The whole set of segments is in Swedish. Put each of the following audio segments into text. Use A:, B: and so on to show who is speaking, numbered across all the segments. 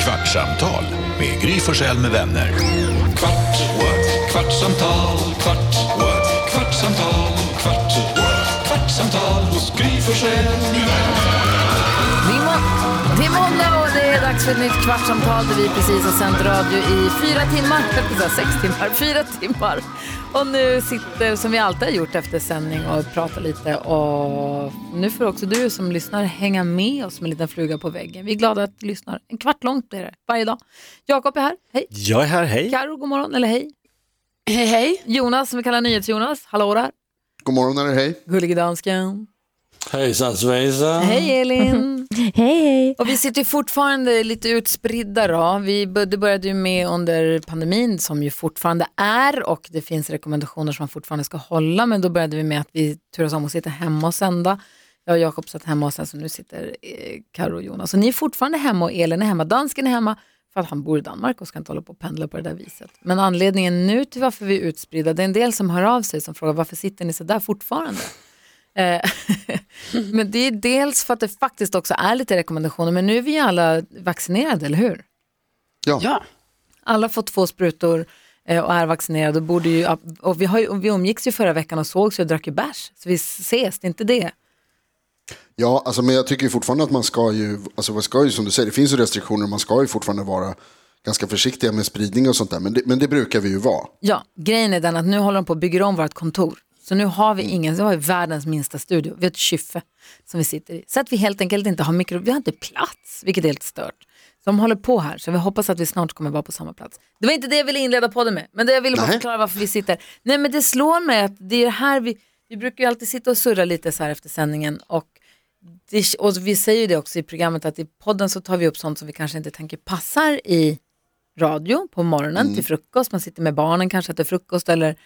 A: Kvartsamtal med Gry Forssell med vänner.
B: Kvart, what? kvartsamtal, kvart, what? kvartsamtal, kvart, what? kvartsamtal hos Gry Forssell med vänner.
C: Det är, må- det är måndag och det är dags för ett nytt kvartsamtal där vi precis har sänt radio i fyra timmar, eller sex timmar, fyra timmar. Och nu sitter, som vi alltid har gjort efter sändning, och pratar lite. Och nu får också du som lyssnar hänga med oss som en liten fluga på väggen. Vi är glada att du lyssnar. En kvart långt blir det varje dag. Jakob är här, hej.
D: Jag är här, hej.
C: Karo, god morgon, eller hej.
E: Hej, hej.
C: Jonas, som vi kallar NyhetsJonas, hallå där.
F: God morgon eller hej.
C: Gullige dansken.
D: Hejsan svejsan.
C: Hej Elin.
G: Hej, hej.
C: Och vi sitter ju fortfarande lite utspridda då. Vi bör- det började ju med under pandemin som ju fortfarande är och det finns rekommendationer som man fortfarande ska hålla men då började vi med att vi turas om att sitta hemma och sända. Jag och Jakob satt hemma och sen så nu sitter eh, Karo och Jonas. Och ni är fortfarande hemma och Elin är hemma. Dansken är hemma för att han bor i Danmark och ska inte hålla på och pendla på det där viset. Men anledningen nu till varför vi är utspridda, det är en del som hör av sig som frågar varför sitter ni så där fortfarande? Eh, men det är dels för att det faktiskt också är lite rekommendationer, men nu är vi ju alla vaccinerade, eller hur?
F: Ja.
E: Ja,
C: Alla får två sprutor eh, och är vaccinerade och borde ju, och vi, har ju, och vi umgicks ju förra veckan och sågs ju och drack ju bärs, så vi ses, det är inte det.
F: Ja, alltså, men jag tycker ju fortfarande att man ska ju, alltså man ska ju som du säger, det finns ju restriktioner, man ska ju fortfarande vara ganska försiktiga med spridning och sånt där, men det, men det brukar vi ju vara.
C: Ja, grejen är den att nu håller de på att bygga om vårt kontor. Så nu har vi ingen, vi har ju världens minsta studio, vi har ett kyffe som vi sitter i. Så att vi helt enkelt inte har mikro, vi har inte plats, vilket är helt stört. Så de håller på här, så vi hoppas att vi snart kommer vara på samma plats. Det var inte det jag ville inleda podden med, men det jag ville bara
F: Nej.
C: förklara varför vi sitter. Nej men det slår mig att det är här vi, vi brukar ju alltid sitta och surra lite så här efter sändningen och det, och vi säger ju det också i programmet att i podden så tar vi upp sånt som vi kanske inte tänker passar i radio på morgonen
D: Mm.
C: till frukost. Man sitter med barnen kanske äter frukost eller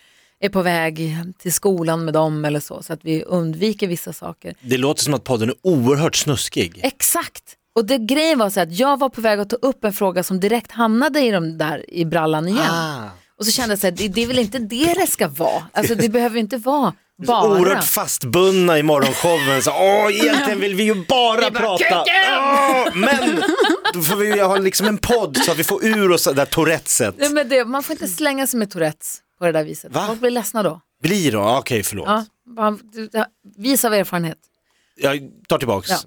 C: är på väg till skolan med dem eller så. Så att vi undviker vissa saker.
D: Det låter som att podden är oerhört snuskig.
C: Exakt! Och det grejen var så här att jag var på väg att ta upp en fråga som direkt hamnade i de där i brallan igen.
D: Ah.
C: Och så kände jag så här, det, det är väl inte det det ska vara. Alltså det behöver inte vara bara.
D: Oerhört fastbundna i morgonshowen. Så, åh, egentligen vill vi ju bara prata. Åh, men då får vi ju ha liksom en podd så att vi får ur oss det där Touretteset.
C: Nej, men det, man får inte slänga sig med Tourettes på det där viset.
D: Va?
C: Folk blir ledsna då.
D: Blir då? Okej, förlåt.
C: Ja, bara, du, ja, vis av erfarenhet.
D: Jag tar tillbaks.
C: Ja.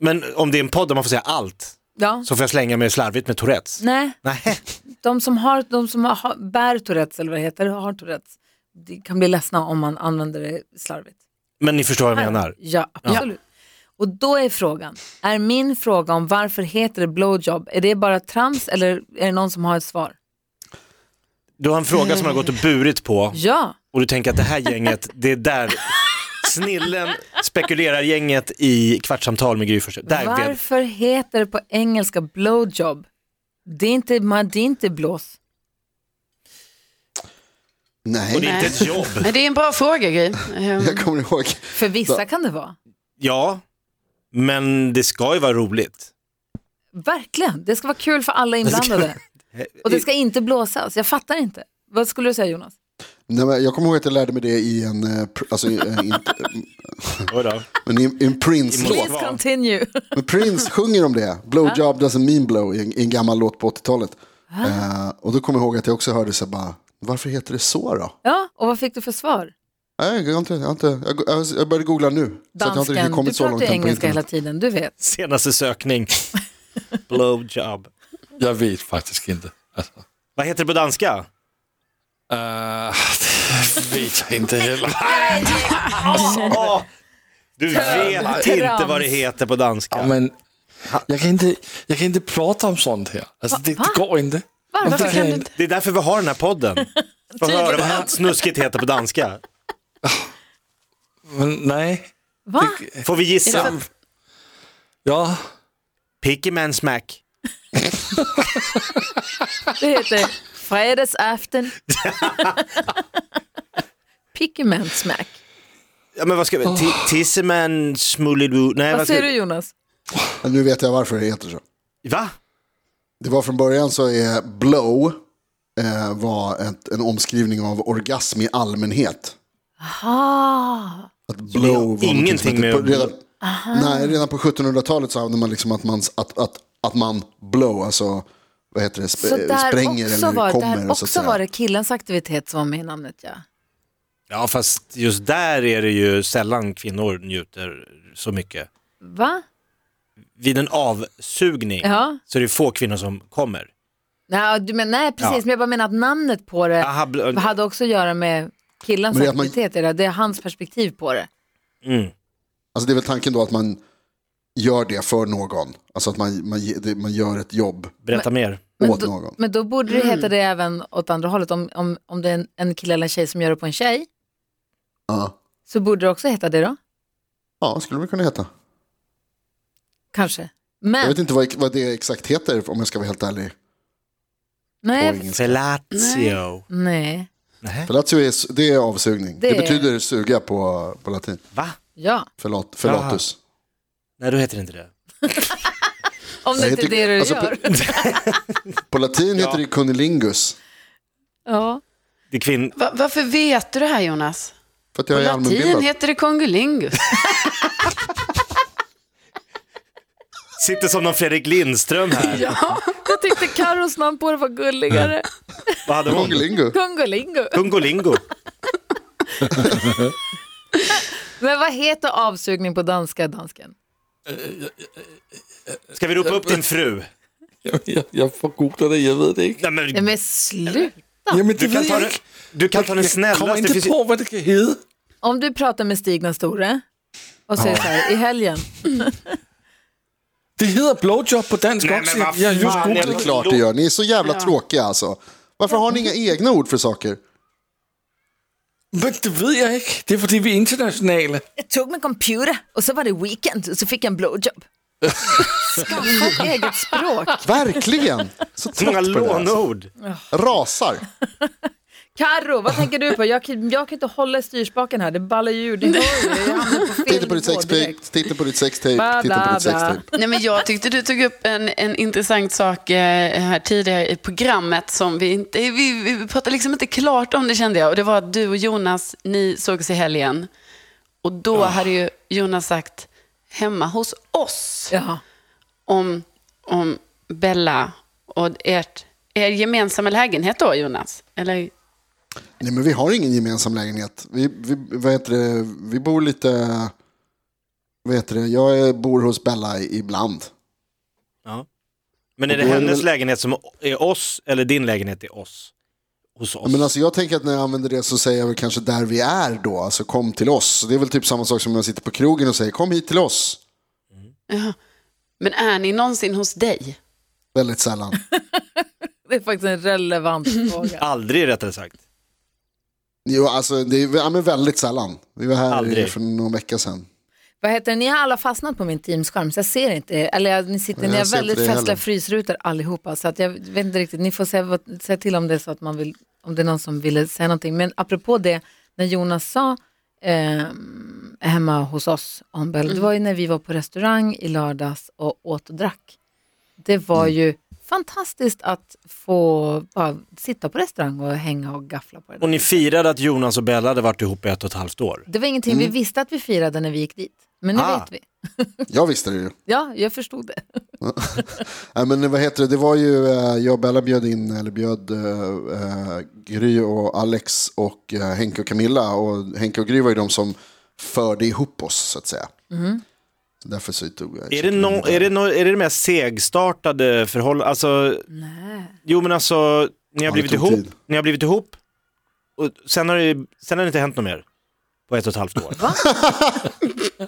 D: Men om det är en podd där man får säga allt
C: Ja.
D: så får jag slänga mig slarvigt med Tourettes.
C: Nej,
D: Nej.
C: de som, har, de som har, bär Tourettes eller vad det heter, har Tourettes, det kan bli ledsna om man använder det slarvigt.
D: Men ni förstår vad jag menar.
C: Ja, absolut. Och då är frågan, är min fråga om varför heter det blowjob, är det bara trams eller är det någon som har ett svar?
D: Du har en fråga som har gått och burit på
C: Ja,
D: och du tänker att det här gänget, det är där snillen spekulerar gänget i kvartsamtal med Gry Forssell. Där blev-
C: varför heter det på engelska blowjob? Det är inte, man, det är inte blås.
D: Och det
F: Nej,
D: är inte ett jobb.
E: men det är en bra fråga, Gry. Ehm,
F: jag kommer ihåg.
C: För vissa kan det vara.
D: Ja, men det ska ju vara roligt.
C: Verkligen, det ska vara kul för alla
D: ska-
C: inblandade. Och det ska inte blåsas, jag fattar inte. Vad skulle du säga Jonas?
F: Nej, men jag kommer ihåg att jag lärde mig det i en, eh, pr- alltså, i- eh, inte,
D: Oj då.
F: men i, i en Prince-låt.
C: Please continue.
F: Men Prince sjunger om det, blowjob doesn't mean blow, i en, i en gammal låt på 80-talet. Eh, och då kommer jag ihåg att jag också hörde så här bara, varför heter det så då?
C: Ja, och vad fick du för svar?
F: Nej, jag, har inte, jag, har inte, jag, jag, jag började googla nu. så att jag har
C: Dansken,
F: inte riktigt
C: du
F: kommit så
C: pratar
F: långt
C: ju
F: än på
C: engelska
F: internet.
C: hela tiden, du vet.
D: Senaste sökning. Blowjob.
H: Jag vet faktiskt inte. Alltså,
D: Vad heter det på danska?
H: eh, det vet jag inte heller.
D: Åh, Ah! du vet inte vad det heter på
H: Ja,
D: danska.
H: men jag, kan inte, jag kan inte prata om sånt här. Alltså, det, det går inte.
E: Varför
H: Det
E: kan
H: är
E: du inte?
D: Det är därför vi har den här podden. För att höra vad snuskigt heter på danska.
H: Men, nej.
C: Va?
D: Får vi gissa?
H: Ja.
D: Picky man smack.
C: Det heter fredagsafton. Pickerman smack.
D: Ja, men vad ska vi? Ti- Tisseman smullidoo. Nej,
C: Vad
D: vad ska
F: typ-
C: säger du
D: vi?
C: Jonas?
F: Men nu vet jag varför det heter så.
D: Va?
F: Det var från början så är blow eh, var ett, en omskrivning av orgasm i allmänhet.
C: Ah,
F: Att blow var någonting som
D: ingenting
F: hette-
D: med-
F: på- redan, Nej, redan på 1700-talet så använde man liksom att man, att, att, att man blow, alltså vad heter det, sp-
C: Så där
F: spränger
C: också
F: eller
C: var, där
F: kommer. så att
C: också
F: säga.
C: var det killens aktivitet som var med i namnet ja.
D: Ja, fast just där är det ju sällan kvinnor njuter så mycket.
C: Va?
D: Vid en avsugning
C: Ja.
D: så är det få kvinnor som kommer.
C: Nej, du men, nej precis,
D: Ja.
C: men jag bara menar att namnet på det
D: Aha, bl-
C: hade också att göra med killens
F: Men det är att man-
C: aktivitet. i det här. Det är hans perspektiv på det.
D: mm.
F: Alltså det är väl tanken då att man gör det för någon. Alltså att man, man, ge- det- man gör ett jobb
D: Berätta mer.
C: Men
F: åt
C: då,
F: någon.
C: men då borde det heta det även åt andra hållet. Om, om, om det är en, en kille eller en tjej som gör det på en tjej
F: Ja,
C: så borde det också heta det då.
F: ja skulle det kunna heta.
C: Kanske.
F: Jag
C: Men,
F: vet inte vad, vad det exakt heter om jag ska vara helt ärlig.
C: nej,
F: Oj.
D: Fellatio.
C: nej,
D: Nej.
F: Fellatio är, su- det är avsugning.
C: Det
F: Det,
C: är-
F: betyder suga på, på latin.
D: Va?
C: ja.
F: Fellat, fellatus.
D: Nej, då heter det inte det.
C: Om det
F: Nej,
C: inte är
F: jag
C: det du
F: tycker- alltså,
C: gör.
F: På latin heter det cunnilingus.
C: Ja.
D: Det är kvinn...
I: Va, varför vet du det här Jonas?
F: För att jag
I: På
F: är
I: latin
F: allmänbildad.
I: heter det kongolingus.
D: Sitter som någon Fredrik Lindström här.
C: Jag tyckte Carros namn på det var gulligare.
D: Vad hade hon?
F: Cunnilingu.
C: Kungolingo.
D: Kungolingo.
C: Men vad heter avsugning på danska, dansken?
D: Ska vi ropa upp din fru?
H: Jeg, jeg, jeg får googlet det, jeg ved det ikke.
D: Nej, men,
C: Nej men slut.
H: Jamen, det
D: du, kan
H: ved
D: ta
H: jeg
D: den,
H: ikke.
D: du kan ta den
H: Jeg kommer
D: snällaste.
H: ikke
D: finns-
H: på, hvad det kan hedde.
C: Om du pratar med Stig den store och säger så här, i helgen,
H: Det hedder blowjob på dansk
D: Nej,
H: også.
D: men hvad
H: Jeg har just
D: fanden,
F: Det
H: googlet
F: är
H: det.
F: klart det gör. Ni är så jävla tråkiga alltså. Varför har ni inga egna ord för saker?
H: Men det ved jeg ikke. Det er fordi, vi er internationale.
C: jag tog min computer och så var det weekend och så fick jag en blowjob. Skaffa ett eget språk.
F: Verkligen! Så
D: Så många
F: trött på det här. alltså.
D: lånord.
F: Rasar.
C: Karo, vad tänker du på? Jag, kan- jag kan inte hålla i styrspaken här, det ballar ju ur. Det hör ju, jag hamnar på fel
F: Titta
C: nivå
F: på ditt sextape,
C: direkt.
F: titta på ditt sextape,
C: Ba,
F: titta på
C: da,
F: ditt
C: da.
F: sextape.
I: Nej, men jag tyckte du tog upp en, en intressant sak eh, här tidigare i programmet som vi inte... eh, Vi, vi pratade liksom inte klart om det kände jag. Och det var att du och Jonas, ni sågs i helgen. Och då hade ju Jonas sagt hemma hos oss
C: Ja.
I: om, om Bella och ert, er gemensamma lägenhet då, Jonas. Eller?
F: Nej men vi har ingen gemensam lägenhet. Vi, vi, vad heter det? vi bor lite... Vad heter det? Jag är- bor hos Bella i- ibland.
D: Ja. Men är det
F: Och då är det
D: hennes
F: väl-
D: lägenhet som är oss eller din lägenhet är oss? Hos oss.
F: Men alltså jag tänker att när jag använder det så säger jag väl kanske där vi är då, alltså kom till oss. Det är väl typ samma sak som när jag sitter på krogen och säger kom hit till oss.
I: Men är ni någonsin hos dig?
F: Väldigt sällan.
C: Det är faktiskt en relevant fråga.
D: Aldrig rättare sagt.
F: Jo, alltså det är ja, men väldigt sällan. Vi var här
D: Aldrig.
F: för någon vecka sedan.
C: Vad heter det? Ni har alla fastnat på min teamskärm så jag ser inte er. Eller jag- ni sitter,
F: Nej,
C: ni
F: jag
C: har
F: ser inte
C: väldigt
F: dig
C: festliga
F: heller.
C: frysrutor allihopa så att jag vet inte riktigt, ni får säga, vad- säga till om det är så att man vill, om det är någon som ville säga någonting. Men apropå det, när Jonas sa eh, hemma hos oss om Bell, det var ju när vi var på restaurang i lördags och åt och drack. Det var
F: Mm.
C: ju fantastiskt att få bara sitta på restaurang och hänga och gaffla på det där.
D: Och ni firade att Jonas och Bella hade varit ihop i ett och ett halvt år.
C: Det var ingenting
F: Mm.
C: vi visste att vi firade när vi gick dit, men nu
D: Ah.
C: vet vi.
F: Jag visste det ju.
C: Ja, jag förstod det.
F: Nej, men vad heter det? det var ju, eh, jag och Bella bjöd in, eller bjöd eh, eh, Gry och Alex och eh, Henke och Camilla. Och Henke och Gry var ju de som förde ihop oss så att säga. Så därför så tog jag
D: Är det, no, är, det no, är det det mest segstartade förhållandet? Alltså,
C: Nej.
D: jo men alltså, ni
F: Ja,
D: har
F: det
D: blivit
F: tog
D: ihop,
F: tid.
D: ni har blivit ihop, och sen har det, sen har det inte hänt något mer på ett och ett halvt år.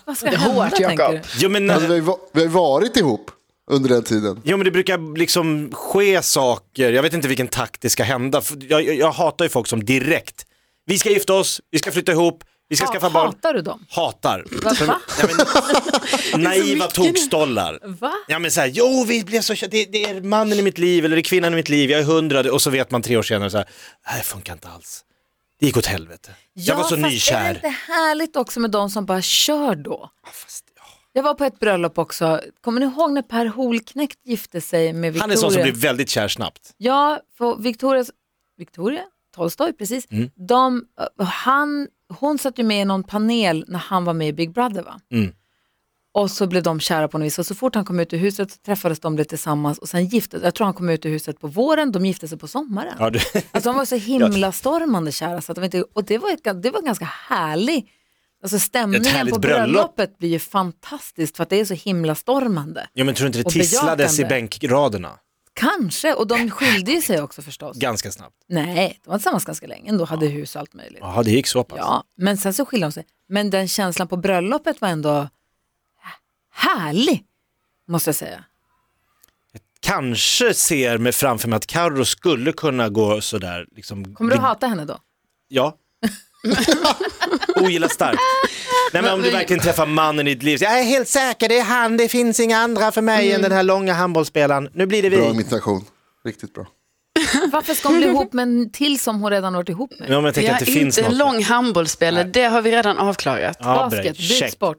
C: Vad ska hända, tänker du?
D: Jo men,
F: Alltså, vi har ju va- vi har ju varit ihop under den tiden.
D: jo men det brukar liksom ske saker, jag vet inte vilken takt det ska hända. För Jag, jag, jag hatar ju folk som direkt, vi ska gifta oss, vi ska flytta ihop, vi ska
C: Ha-
D: skaffa barn.
C: Hatar du dem?
D: Hatar.
C: Va?
D: Som-
C: Va?
D: Nej, men, naiva tokstollar.
C: Va?
D: Ja men såhär, jo vi blev så kär- det, det är mannen i mitt liv eller det är kvinnan i mitt liv, jag är hundra och så vet man tre år senare såhär, det här funkar inte alls. Det gick åt helvete. jag var så
C: fast Är
D: nykär.
C: det inte härligt också med de som bara kör då? Jag var på ett bröllop också. Kommer ni ihåg när Per Holknekt gifte sig med Victoria?
D: Han är sån som blir väldigt kär snabbt.
C: Ja, för Victorias, Victoria Tolstoj, precis.
D: Mm.
C: De, eh, han, hon satt ju med i någon panel när han var med i Big Brother va?
D: Mm.
C: Och så blev de kära på något vis och så fort han kom ut ur huset så träffades de lite tillsammans och sen gifte Jag tror han kom ut ur huset på våren, de gifte sig på sommaren.
D: Ja, du...
C: Alltså de var så himla stormande kära så att de inte, och det var, ett, det var ganska härlig, alltså
D: Ett
C: stämningen
D: härligt
C: på
D: bröllop.
C: bröllopet blir ju fantastiskt för att det är så himla stormande.
D: Jo men tror du inte det
C: Och
D: tisslades i
C: bejakande.
D: bänkraderna?
C: Kanske, och de skilde ju sig också förstås.
D: Ganska snabbt.
C: Nej, de var tillsammans ganska länge ändå, hade hus och allt möjligt.
D: Jaha, det gick så pass.
C: Ja, men sen så skilde de sig. Men den känslan på bröllopet var ändå härlig, måste jag säga.
D: Kanske ser mig framför mig att Carro skulle kunna gå sådär, liksom...
C: Kommer du hata henne då?
D: Ja. Ogillar starkt. Nej men om du verkligen träffar mannen i ditt liv, så jag är helt säker, det är han, det finns inga andra för mig
I: Mm.
D: än den här långa handbollsspelaren. Nu blir det
F: Bra
D: vi.
F: imitation. Riktigt bra.
C: Varför ska hon bli ihop med en till som hon redan varit ihop med?
D: Men om jag tänker
I: Jag
D: att det
I: är
D: finns
I: inte en
D: något.
I: lång handbollsspelare, det har vi redan avklarat.
D: Ja, bra.
C: Basket,
D: Check.
C: bytsport.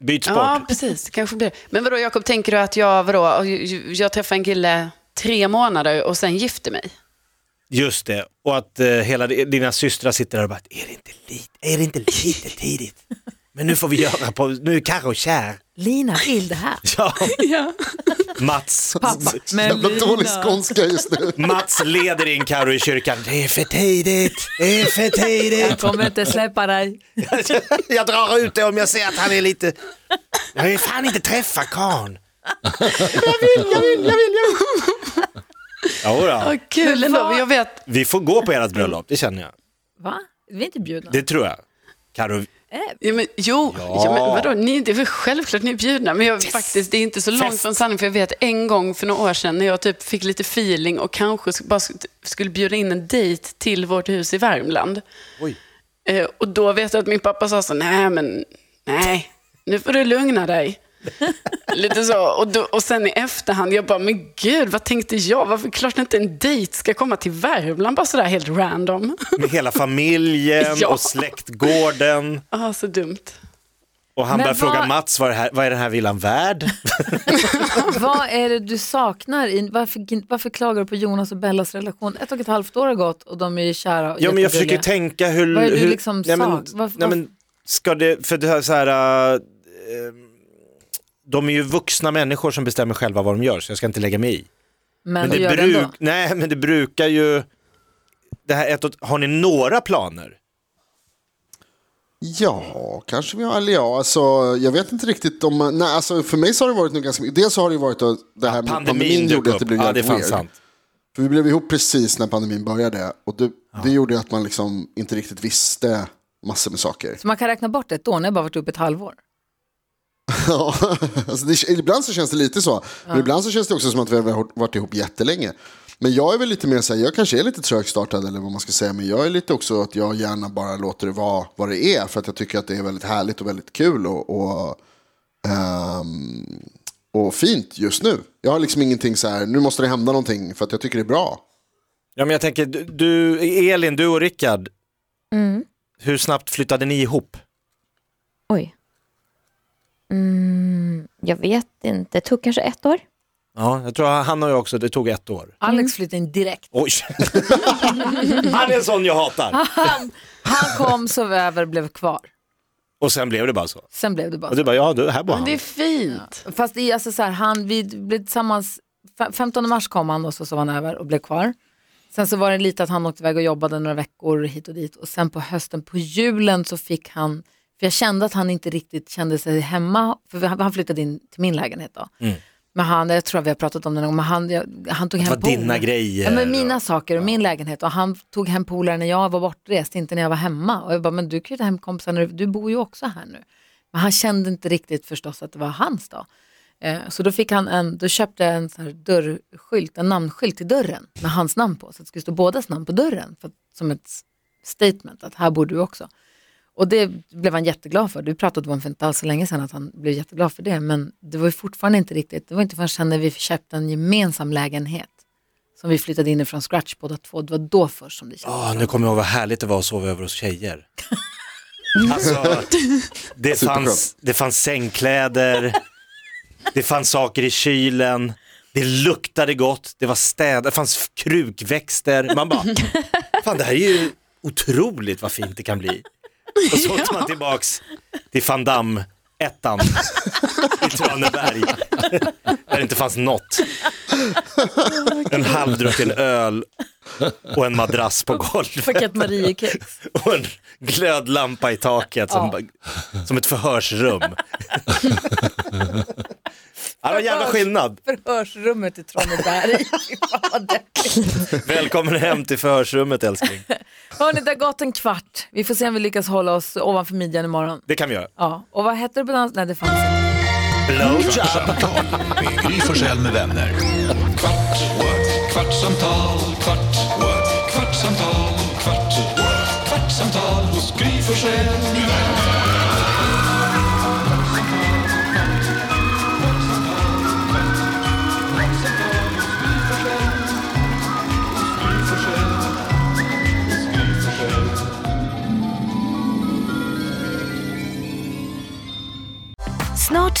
D: Byt sport.
I: Ja, precis. Det kanske blir. Men vadå, Jakob, tänker du att jag, vadå, jag träffar en kille tre månader och sen gifter mig?
D: Just det, och att eh, hela di- dina systrar sitter där och bara, är det inte lite, är det inte lite tidigt? Men nu får vi göra på, nu är Carro kär.
C: Lina vill det här.
D: Ja. Mats,
F: Jävla dålig skånska just nu.
D: Mats leder in Carro i kyrkan, det är för tidigt, det är för
C: Jag
D: tidigt.
C: kommer inte släppa dig.
D: jag drar ut det om jag ser att han är lite... Jag vill fan inte träffa karln. jag vill, jag vill, jag vill, jag vill. Jodå,
I: Vad kul ändå. Jag vet,
D: vi får gå på ert bröllop, det känner jag.
C: Va? Vi är inte bjudna.
D: Det tror jag. Karo,
I: ja, men, jo, ja. men, vadå, ni, det är väl självklart ni är bjudna, men jag, faktiskt, det är inte så långt från sanningen, för jag vet en gång för några år sedan när jag typ fick lite feeling och kanske sk- bara sk- skulle bjuda in en dejt till vårt hus i Värmland. Eh, och då vet jag att min pappa sa så, nej men, nej, nu får du lugna dig. Lite så. Och, då, och sen i efterhand, jag bara, men gud, vad tänkte jag? Varför klart inte en dejt ska komma till Värmland bara sådär helt random?
D: med hela familjen
I: Ja.
D: och släktgården.
I: ah, så dumt.
D: Och han
C: Men
D: börjar
C: vad-
D: fråga Mats, vad är, det här, vad är den här villan värd?
C: Vad är det du saknar? I, varför, varför klagar du på Jonas och Bellas relation? Ett och ett halvt år har gått och de är ju kära och
D: Ja, men jag försöker
C: jättegulliga.
D: ju tänka hur...
C: Vad är det du
D: hur,
C: liksom
D: nej, men,
C: sak- varför-
D: nej, men, ska det, för det här, så här, äh, de är ju vuxna människor som bestämmer själva vad de gör, så jag ska inte lägga mig i.
C: Men,
D: det,
C: det gör det ändå.
D: nej, men det brukar ju... Det här ett, och- har ni några planer?
F: Ja, kanske vi har. Eller ja, alltså, jag vet inte riktigt om... Nej, alltså, för mig så har det varit nog ganska mycket. Dels så har det ju varit att det här med pandemin,
D: dök
F: gjorde att
D: upp.
F: det blev
D: ja, det är
F: jävligt
D: fan
F: weird.
D: sant.
F: För vi blev ihop precis när pandemin började. Och det, det gjorde att man liksom inte riktigt visste massor med saker.
C: Så man kan räkna bort ett år, när jag bara varit uppe ett halvår.
F: Ja, alltså det, ibland så känns det lite så. Men ibland så känns det också som att vi har varit ihop jättelänge. Men jag är väl lite mer så här, jag kanske är lite trögstartad eller vad man ska säga. Men jag är lite också att jag gärna bara låter det vara vad det är. För att jag tycker att det är väldigt härligt och väldigt kul och, och, ehm, och fint just nu. Jag har liksom ingenting så här, nu måste det hända någonting för att jag tycker det är bra.
D: Ja, men jag tänker, du- du, Elin, du och Rickard,
C: Mm.
D: hur snabbt flyttade ni ihop?
J: Oj. Mm, jag vet inte. Det tog kanske ett år.
D: Ja, jag tror han och jag också, det tog ett år.
C: Alex flyttade in direkt.
D: Oj! han är en sån jag hatar.
C: Han, han kom, sov över, blev kvar.
D: Och sen blev det bara så.
C: Sen blev det bara
D: Och du bara, ja, du, här bor
I: Det är
D: han.
I: fint.
C: Fast i, alltså så här, han, vi blev tillsammans, fe- 15 mars kom han och så sov han över och blev kvar. Sen så var det lite att han åkte iväg och jobbade några veckor hit och dit och sen på hösten, på julen så fick han, för jag kände att han inte riktigt kände sig hemma, för vi- han flyttade in till min lägenhet då.
D: Mm.
C: Men han, jag tror att vi har pratat om det någon gång, men han, jag, han tog hem
D: var
C: polare.
D: dina grejer
C: Ja, men
D: och-
C: mina saker och min lägenhet och han tog hem polare när jag var bortrest, inte när jag var hemma. Och jag bara, men du kan ju ta hem kompisar, när du, du bor ju också här nu. Men han kände inte riktigt förstås att det var hans dag. Eh, så då, fick han en, då köpte jag en sån här dörrskylt, en namnskylt till dörren med hans namn på. Så att det skulle stå bådas namn på dörren för, att- som ett s- statement att här bor du också. Och det blev han jätteglad för. Du pratade om för inte alls så länge sedan att han blev jätteglad för det. Men det var ju fortfarande inte riktigt, det var inte förrän sen när vi köpte en gemensam lägenhet som vi flyttade in från scratch båda två. Det var då först som det kändes.
D: Ah, nu kommer jag ihåg vad härligt det var att sova över hos tjejer. Alltså, det, fanns,
F: Superskönt.
D: det fanns sängkläder, det fanns saker i kylen, det luktade gott, det var städat, det fanns krukväxter. Man bara, fan det här är ju otroligt vad fint det kan bli. Och så åkte man tillbaks till Van Damme ettan i Traneberg. Där det inte fanns något. En halvdrucken öl och en madrass på golvet
C: Paket Mariekex.
D: och en glödlampa i taket som, bara- som ett förhörsrum. Ja, det var en jävla skillnad.
C: Förhörsrummet i Traneberg. Fy fan vad deppigt.
D: Välkommen hem till förhörsrummet älskling.
C: Hörni, det har gått en kvart. Vi får se om vi lyckas hålla oss ovanför midjan imorgon.
D: Det kan vi göra.
C: Ja, och vad hette det på dans? Nej, det fanns inte.
A: Kvartsamtal med Gry Forssell med vänner.
B: Kvart, what? kvartsamtal, kvart, what? kvartsamtal, kvart, what? kvartsamtal hos Gry Forssell med vänner.
K: Snart